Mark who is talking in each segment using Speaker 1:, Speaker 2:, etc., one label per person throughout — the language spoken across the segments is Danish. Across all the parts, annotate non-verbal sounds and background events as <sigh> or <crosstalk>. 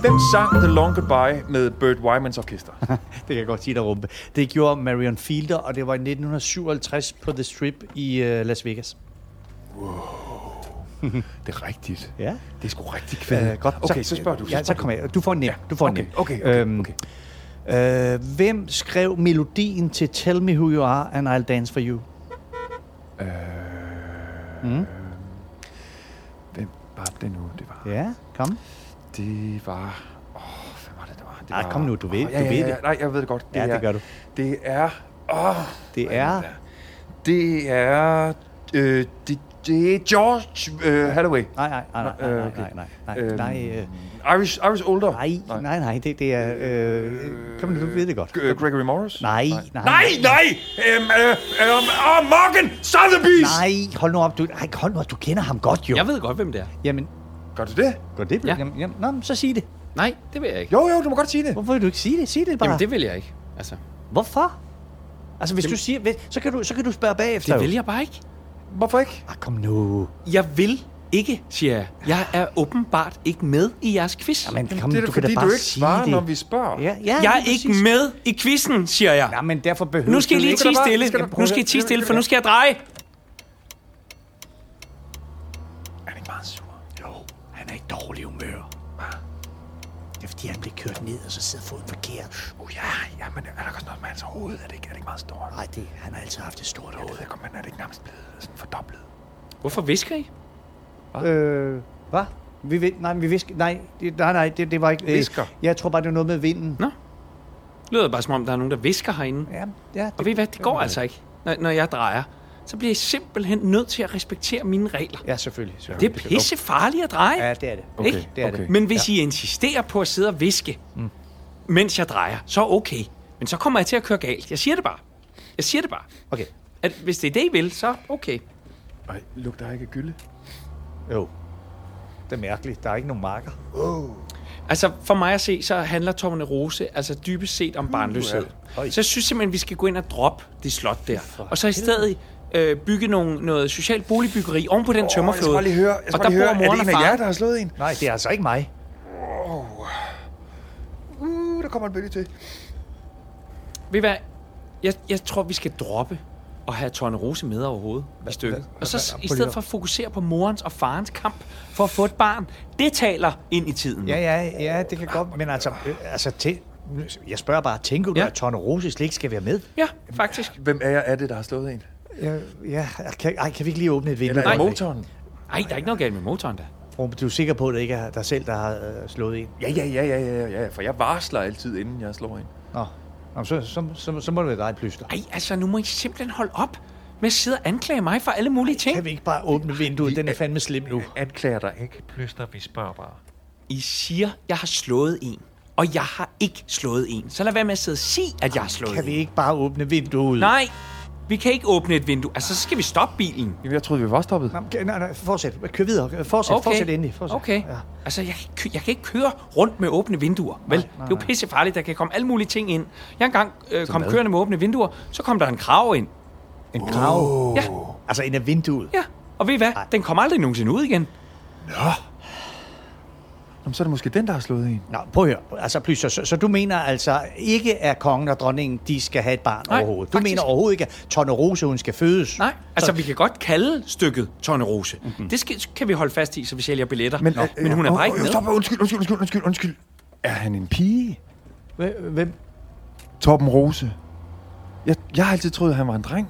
Speaker 1: Hvem sang The Long Goodbye med Burt Wymans
Speaker 2: <laughs>
Speaker 1: orkester?
Speaker 2: Det kan jeg godt sige dig, Rumpe. Det gjorde Marion Fielder, og det var i 1957 på The Strip i øh, Las Vegas.
Speaker 1: det er rigtigt.
Speaker 2: Ja.
Speaker 1: Det er sgu rigtig kvæde.
Speaker 2: Øh, godt.
Speaker 1: Okay, så spørger du.
Speaker 2: Ja, så kommer jeg. Du får en nem. Du får en
Speaker 1: Okay,
Speaker 2: nem.
Speaker 1: okay, okay,
Speaker 2: Øhm,
Speaker 1: okay.
Speaker 2: Øh, hvem skrev melodien til Tell Me Who You Are and I'll Dance For You?
Speaker 1: Hvem var det nu, det var?
Speaker 2: Ja, kom.
Speaker 1: Det var... Åh, hvad var det, det var? Det
Speaker 2: Ej,
Speaker 1: var,
Speaker 2: kom nu, du ved-
Speaker 1: Åh, ja,
Speaker 2: du
Speaker 1: ja,
Speaker 2: ved
Speaker 1: ja,
Speaker 2: det.
Speaker 1: Nej, jeg ved det godt.
Speaker 2: Ja, det
Speaker 1: er-
Speaker 2: gør du.
Speaker 1: Det er... Åh,
Speaker 2: Det
Speaker 1: hvad
Speaker 2: er-
Speaker 1: det Det er... Øh, det, det er George øh, Hathaway.
Speaker 2: Nej, nej, nej, nej,
Speaker 1: Øh,
Speaker 2: nej,
Speaker 1: okay.
Speaker 2: nej, nej, nej,
Speaker 1: Øhm,
Speaker 2: nej, øh,
Speaker 1: Irish, Irish Older.
Speaker 2: nej, nej, nej, det, det er, øh, kom nu, du ved det godt.
Speaker 1: G- øh, Gregory Morris?
Speaker 2: Nej, nej.
Speaker 1: Nej, nej! Øhm, øh, øh, åh, Morgan Sotheby's!
Speaker 2: Nej, hold nu op, du, nej, hold nu op, du kender ham godt jo.
Speaker 3: Jeg ved godt, hvem det er.
Speaker 2: Jamen,
Speaker 1: Gør du det?
Speaker 2: går det?
Speaker 3: Ja.
Speaker 2: Jamen, jamen, nå, men så sig det.
Speaker 3: Nej, det vil jeg ikke.
Speaker 1: Jo, jo, du må godt sige det.
Speaker 2: Hvorfor vil du ikke sige det? Sig det bare.
Speaker 3: Jamen, det vil jeg ikke. Altså,
Speaker 2: Hvorfor? Altså, hvis du siger, hvis- så kan du, så kan du spørge bagefter.
Speaker 3: det
Speaker 2: jo.
Speaker 3: vil jeg bare ikke.
Speaker 1: Hvorfor ikke?
Speaker 2: Ah, kom nu.
Speaker 3: Jeg vil ikke, siger jeg. Jeg er åbenbart ikke med i jeres quiz.
Speaker 2: Jamen, kom,
Speaker 1: det er
Speaker 2: du
Speaker 1: da
Speaker 2: kan
Speaker 1: fordi,
Speaker 2: da bare
Speaker 1: du ikke
Speaker 2: sige
Speaker 1: svarer,
Speaker 2: det.
Speaker 1: når vi spørger.
Speaker 2: Ja, ja,
Speaker 3: Jeg
Speaker 2: lige
Speaker 3: er ikke
Speaker 2: præcis.
Speaker 3: med i quizzen, siger jeg.
Speaker 2: Ja, men derfor behøver
Speaker 3: Nu skal I
Speaker 2: du
Speaker 3: lige
Speaker 2: ikke-
Speaker 1: skal
Speaker 3: tige
Speaker 1: der bare-
Speaker 3: stille.
Speaker 1: skal der-
Speaker 3: Nu skal I tige stille, for nu skal jeg dreje.
Speaker 1: Er det ikke meget sur?
Speaker 2: Jo, han er i dårlig humør. Det er fordi, han blev kørt ned, og så sidder foden forkert.
Speaker 1: Oh, ja, ja, men er der også noget med hans hoved? Er det ikke, er det ikke meget stort?
Speaker 2: Nej, det, han har altid haft et stort hoved.
Speaker 1: Jeg kommer, man er det ikke nærmest blevet sådan fordoblet?
Speaker 3: Hvorfor visker I?
Speaker 2: Øh, hvad? Vi ved, nej, vi visker, nej, det, nej, nej, det, det var ikke... øh,
Speaker 1: Hvisker.
Speaker 2: Jeg tror bare, det var noget med vinden.
Speaker 3: Lyder bare som om, der er nogen, der visker herinde.
Speaker 2: Ja, ja.
Speaker 3: Og ved I hvad, det går altså ikke, når, når jeg drejer. Så bliver I simpelthen nødt til at respektere mine regler.
Speaker 2: Ja, selvfølgelig. selvfølgelig.
Speaker 3: Det er pisse farligt at dreje.
Speaker 2: Ja, det er det.
Speaker 3: Okay, Ikke?
Speaker 2: Det er det.
Speaker 3: Men hvis ja. I insisterer på at sidde og viske, mm. mens jeg drejer, så okay. Men så kommer jeg til at køre galt. Jeg siger det bare. Jeg siger det bare.
Speaker 2: Okay.
Speaker 3: At hvis det er det, I vil, så okay.
Speaker 1: Ej, lugter ikke af gylde?
Speaker 2: Jo. Det er mærkeligt. Der er ikke nogen marker.
Speaker 3: Altså, for mig at se, så handler Tommerne Rose altså dybest set
Speaker 1: Uh,
Speaker 3: om barnløshed.
Speaker 2: Øj.
Speaker 3: Så jeg synes simpelthen, vi skal gå ind og droppe det slot der. Og så i stedet øh, bygge nogle, noget socialt boligbyggeri oven på den oh,
Speaker 1: jeg skal
Speaker 3: tømmerflåde.
Speaker 1: bare lige høre, jeg skal
Speaker 3: og
Speaker 1: bare
Speaker 3: der
Speaker 1: lige høre,
Speaker 3: bor
Speaker 1: er
Speaker 3: moren
Speaker 1: det
Speaker 3: og
Speaker 1: en af jer,
Speaker 3: faren.
Speaker 1: der har slået en?
Speaker 2: Nej, det er altså ikke mig.
Speaker 1: Uh, der kommer en bølge til.
Speaker 3: Ved I hvad? Jeg, jeg tror, vi skal droppe og have Tone Rose med overhovedet i stykket. Og så s- i stedet for at fokusere på morens og farens kamp for at få et barn, det taler ind i tiden.
Speaker 2: Ja, ja, ja, det kan godt. Men altså, øh, altså til, jeg spørger bare, tænker du,
Speaker 3: Ja.
Speaker 2: at Tone Rose slet ikke skal være med?
Speaker 3: ja faktisk.
Speaker 1: Hvem er jeg, er det, der har slået en?
Speaker 2: Ja, ja kan, ej, kan vi ikke lige åbne et
Speaker 1: Eller
Speaker 2: vindue?
Speaker 1: er
Speaker 2: Nej,
Speaker 1: det motoren?
Speaker 3: Ej, der er ikke noget galt med motoren da.
Speaker 2: Rum, Du er sikker på, at det ikke er dig selv, der har øh, slået en?
Speaker 1: Ja, ja, ja, ja, ja, ja, for jeg varsler altid, inden jeg slår en.
Speaker 2: Nå, Nå så, så, så, så må det være dig, Plyster.
Speaker 3: Ej, altså nu må I simpelthen holde op med at sidde og anklage mig for alle mulige ting.
Speaker 2: Kan vi ikke bare åbne vinduet? Den er fandme slim nu.
Speaker 1: Anklager dig ikke, pløster, vi spørger bare.
Speaker 3: I siger, jeg har slået en. Og jeg har ikke slået en. Så lad være med at sidde og sige, at jeg har slået
Speaker 2: Kan vi
Speaker 3: en.
Speaker 2: ikke bare åbne vinduet?
Speaker 3: Nej, vi kan ikke åbne et vindue. Altså, så skal vi stoppe bilen.
Speaker 1: Jamen, jeg troede, vi var stoppet.
Speaker 2: Nå, okay, nej, nej, fortsæt. Kør videre. Fortsæt, okay. fortsæt endelig. Fortsæt.
Speaker 3: Okay.
Speaker 2: Ja.
Speaker 3: Altså, jeg, kan ikke kø- jeg kan ikke køre rundt med åbne vinduer, vel? Nej, nej, det er jo pissefarligt, der kan komme alle mulige ting ind. Jeg engang øh, kom kørende med åbne vinduer, så kom der en krav ind.
Speaker 2: En krav.
Speaker 3: Ja,
Speaker 2: Altså, en af vinduet.
Speaker 3: ja. Og ved I hvad? Nej. Den kom aldrig nogensinde ud igen.
Speaker 1: Jamen, så er det måske den, der har slået en.
Speaker 2: Nå, prøv at høre. Altså, Plyster, så, så du mener altså ikke, at kongen og dronningen, de skal have et barn
Speaker 3: Nej,
Speaker 2: overhovedet? Du
Speaker 3: faktisk
Speaker 2: mener overhovedet ikke, at Tonne Rose, hun skal fødes?
Speaker 3: Nej. Altså, vi kan godt kalde stykket Tone Rose. Mm-hmm. Det skal, kan vi holde fast i, så vi sælger billetter. Men, Nå, men hun er bare ikke med.
Speaker 1: øh, Stop, undskyld, undskyld, undskyld, undskyld, undskyld. Er han en pige?
Speaker 2: Hvem- Hvem?
Speaker 1: Torben Rose. Jeg, jeg har altid troet, at han var en dreng.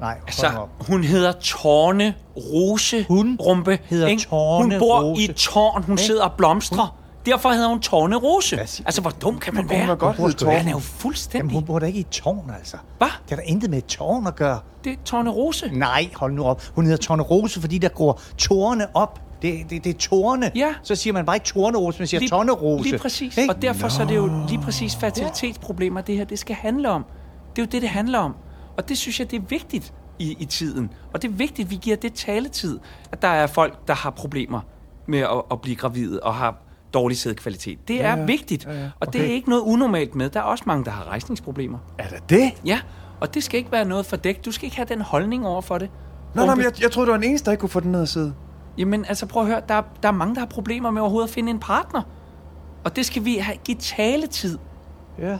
Speaker 2: Nej, hold nu
Speaker 3: Så
Speaker 2: op.
Speaker 3: hun hedder Tårne Rose
Speaker 2: Hun
Speaker 3: Rumpe.
Speaker 2: hedder
Speaker 3: ikke?
Speaker 2: Tårne
Speaker 3: Hun bor
Speaker 2: Rose.
Speaker 3: i et tårn. Hun sidder og blomstrer. Derfor hedder hun Tårne Rose.
Speaker 2: siger
Speaker 3: Altså, hvor dum kan man
Speaker 1: Hun
Speaker 3: være?
Speaker 1: var godt
Speaker 2: bor
Speaker 1: hedde
Speaker 2: sgu da
Speaker 1: Torben.
Speaker 3: Han er jo
Speaker 2: Jamen,
Speaker 3: fuldstændig...
Speaker 2: hun bor da ikke i et tårn, altså.
Speaker 3: Hvad?
Speaker 2: Det er der intet med et tårn at gøre.
Speaker 3: Det er Tårne Rose.
Speaker 2: Nej, hold nu op. Hun hedder Tårne Rose, fordi der gror tårne op. Det, det, det er tårne.
Speaker 3: Ja.
Speaker 2: Så siger man bare ikke tårne rose, man siger tårne rose.
Speaker 3: Lige præcis.
Speaker 2: Ikke?
Speaker 3: Og derfor så er det jo lige præcis fertilitetsproblemer, det her det skal handle om. Det er jo det, det handler om. Og det synes jeg, det er vigtigt i, i tiden. Og det er vigtigt, at vi giver det taletid, at der er folk, der har problemer med at, at blive gravide og har dårlig sædkvalitet. Det er vigtigt. Ja, ja. Okay. Og det er ikke noget unormalt med. Der er også mange, der har rejsningsproblemer.
Speaker 1: Er der det?
Speaker 3: Ja, og det skal ikke være noget fordækt. Du skal ikke have den holdning over for det.
Speaker 1: Nå, nej,
Speaker 3: Bunke.
Speaker 1: men jeg, jeg troede, du var den eneste, der ikke kunne få den ned at sidde.
Speaker 3: Jamen, altså prøv at høre, der er, der er mange, der har problemer med overhovedet at finde en partner. Og det skal vi have, give taletid,
Speaker 2: Ja,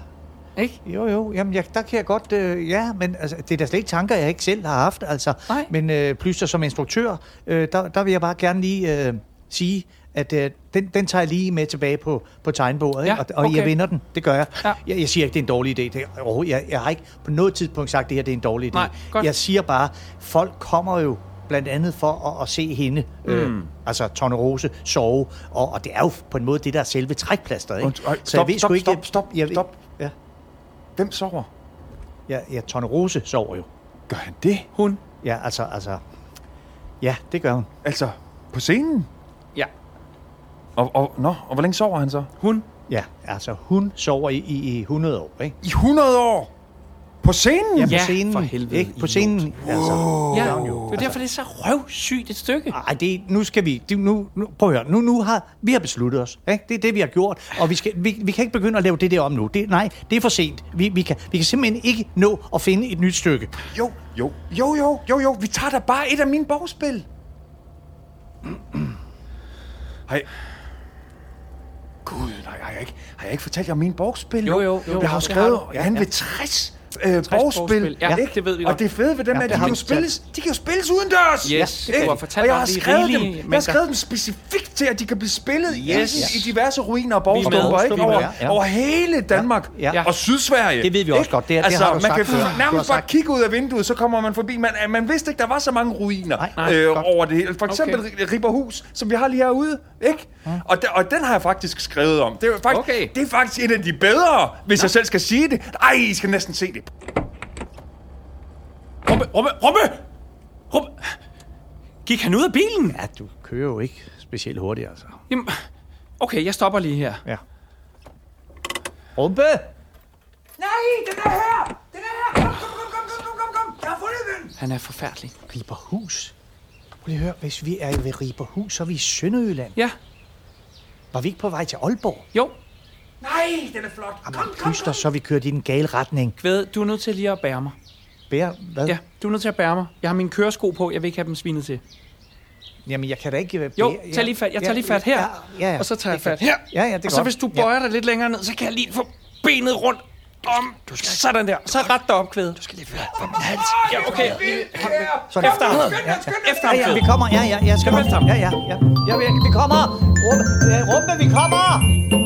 Speaker 3: ikke?
Speaker 2: jo jo. Jamen, jeg, der kan jeg godt... Øh, ja, men altså, det er da slet ikke tanker, jeg ikke selv har haft. Altså.
Speaker 3: Nej.
Speaker 2: Men øh, plyster som instruktør, øh, der, der vil jeg bare gerne lige øh, sige, at øh, den, den tager jeg lige med tilbage på, på tegnbordet,
Speaker 3: Ja,
Speaker 2: ikke? og, og
Speaker 3: okay.
Speaker 2: jeg vinder den. Det gør jeg.
Speaker 3: Ja.
Speaker 2: jeg. Jeg siger ikke, det er en dårlig idé. Det, er overhovedet- jeg, jeg har ikke på noget tidspunkt sagt, at det her det er en dårlig idé.
Speaker 3: Nej, godt.
Speaker 2: Jeg siger bare, folk kommer jo blandt andet for at, at se hende, mm. øh, altså Tone Rose, sove, og, og det er jo på en måde det, der er selve trækplasteret. Ikke?
Speaker 1: Und- ej,
Speaker 2: Så
Speaker 1: stop,
Speaker 2: jeg ved
Speaker 1: stop,
Speaker 2: sgu ikke...
Speaker 1: stop, stop,
Speaker 2: jeg, ved-
Speaker 1: stop.
Speaker 2: Ja.
Speaker 1: Hvem sover?
Speaker 2: Ja, ja Tone Rose sover jo.
Speaker 1: Gør han det?
Speaker 3: Hun.
Speaker 2: Ja, altså, altså... Ja, det gør hun.
Speaker 1: Altså, på scenen?
Speaker 3: Ja.
Speaker 1: Og, og, nå, og hvor længe sover han så?
Speaker 3: Hun.
Speaker 2: Ja, altså, hun sover i, i, i 100 år, ikke?
Speaker 1: I 100 år! På scenen?
Speaker 2: Ja,
Speaker 1: Jamen.
Speaker 2: på
Speaker 3: Ja,
Speaker 2: scenen,
Speaker 3: for helvede,
Speaker 2: Ikke? På
Speaker 3: idiot.
Speaker 2: scenen, altså.
Speaker 3: Ja, det
Speaker 2: er
Speaker 3: er
Speaker 2: hun jo.
Speaker 3: jo derfor, det er så røvsygt et stykke.
Speaker 2: Ej, det, nu skal vi... Det, nu, nu, prøv at høre. Nu, nu har, vi har besluttet os. Ikke? Det er det, vi har gjort. Og vi, skal, vi, vi kan ikke begynde at lave det der om nu. Det, nej, det er for sent. Vi, vi, kan, vi kan simpelthen ikke nå at finde et nyt stykke.
Speaker 1: Jo, jo, jo, jo, jo, jo, vi tager da bare et af mine bogspil. Hej. Gud, nej, har jeg ikke, har jeg ikke fortalt jer om mine bogspil?
Speaker 3: Jo, jo, jo,
Speaker 1: jeg har jo
Speaker 3: det
Speaker 1: skrevet,
Speaker 3: har du.
Speaker 1: jeg er ja. ved 60, øh, 60
Speaker 3: bogspil.
Speaker 1: bogspil.
Speaker 3: Ja,
Speaker 1: ikke?
Speaker 3: det ved vi godt.
Speaker 1: Og det fede ved dem
Speaker 2: Ja,
Speaker 1: er, at
Speaker 2: det
Speaker 1: de
Speaker 2: har
Speaker 1: kan, jo
Speaker 2: vi fortalt.
Speaker 1: spilles, de kan jo spilles udendørs.
Speaker 3: Yes, det
Speaker 1: ikke?
Speaker 3: kunne jeg fortælle
Speaker 1: og jeg
Speaker 3: om
Speaker 1: har
Speaker 3: i
Speaker 1: skrevet
Speaker 3: rigelige
Speaker 1: dem, jeg har
Speaker 3: mængder.
Speaker 1: skrevet dem specifikt til, at de kan blive spillet
Speaker 3: Yes.
Speaker 1: yes. i, i diverse ruiner og
Speaker 3: med,
Speaker 1: borgstumper, ikke?
Speaker 2: vi er med,
Speaker 1: Over,
Speaker 2: ja.
Speaker 1: over hele Danmark
Speaker 2: Ja, ja.
Speaker 1: og Sydsverige.
Speaker 2: Det ved vi også godt. Det er- det
Speaker 1: altså,
Speaker 2: har du
Speaker 1: man
Speaker 2: sagt
Speaker 1: kan
Speaker 2: før. Du har
Speaker 1: nærmest bare
Speaker 2: sagt-
Speaker 1: kigge ud af vinduet, så kommer man forbi. Man, man vidste ikke, der var så mange ruiner
Speaker 2: Nej,
Speaker 1: nej,
Speaker 2: nej,
Speaker 1: øh,
Speaker 2: godt.
Speaker 1: over det hele. For eksempel okay. Riberhus, som vi har lige herude, ikke? Og, de, og den har jeg faktisk skrevet om. Det er, faktisk,
Speaker 3: Okay.
Speaker 1: det er faktisk en af de bedre, hvis jeg selv skal sige det. Ej, I skal næsten se det.
Speaker 3: Rumme, rumme, rumme! Rumme! Gik han ud af bilen?
Speaker 2: Ja, du kører jo ikke specielt hurtigt, altså.
Speaker 3: Jamen, okay, jeg stopper lige her.
Speaker 2: Ja. Rumpe!
Speaker 1: Nej, den er her! Den er her! Kom, kom, kom, kom, kom, kom, kom! Jeg har fundet den!
Speaker 3: Han er forfærdelig.
Speaker 2: Riberhus? Prøv lige at høre, hvis vi er ved Riberhus, så er vi i Sønderjylland.
Speaker 3: Ja,
Speaker 2: Var vi ikke på vej til Aalborg?
Speaker 3: jo.
Speaker 1: Nej, den er flot! Kom, kom,
Speaker 2: Jamen,
Speaker 1: kom!
Speaker 2: kyster, så er vi kørt i den gale retning.
Speaker 3: Kvæde, du er nødt til lige at bære mig.
Speaker 2: Bær, hvad?
Speaker 3: Ja, du er nødt til at bære mig. Jeg har mine køresko på, jeg vil ikke have dem svinet til.
Speaker 2: Jamen, jeg kan da ikke... øh,
Speaker 3: Jo,
Speaker 2: bære-
Speaker 3: tag lige fat. Jeg tager lige fat her,
Speaker 2: ja, ja.
Speaker 3: og så tager jeg
Speaker 2: Det kan-
Speaker 3: fat her.
Speaker 2: Ja, ja, det er
Speaker 3: Og så
Speaker 2: godt.
Speaker 3: hvis du
Speaker 2: Ja.
Speaker 3: bøjer dig lidt længere ned, så kan jeg lige få benet rundt om. Du skal sådan der. Så ret dig op, kvæde. Du skal lige få på min hals. Ja, okay.
Speaker 2: Sådan.
Speaker 3: Efter ham.
Speaker 2: Ja, ja.
Speaker 3: Efter ham,
Speaker 2: Ja, ja,
Speaker 3: kvæde.
Speaker 2: vi kommer. Ja, ja, jeg skal
Speaker 3: Kom efter ham.
Speaker 2: Ja, ja, ja. ja vi, vi kommer. Rumpe, øh, rumpe, vi kommer.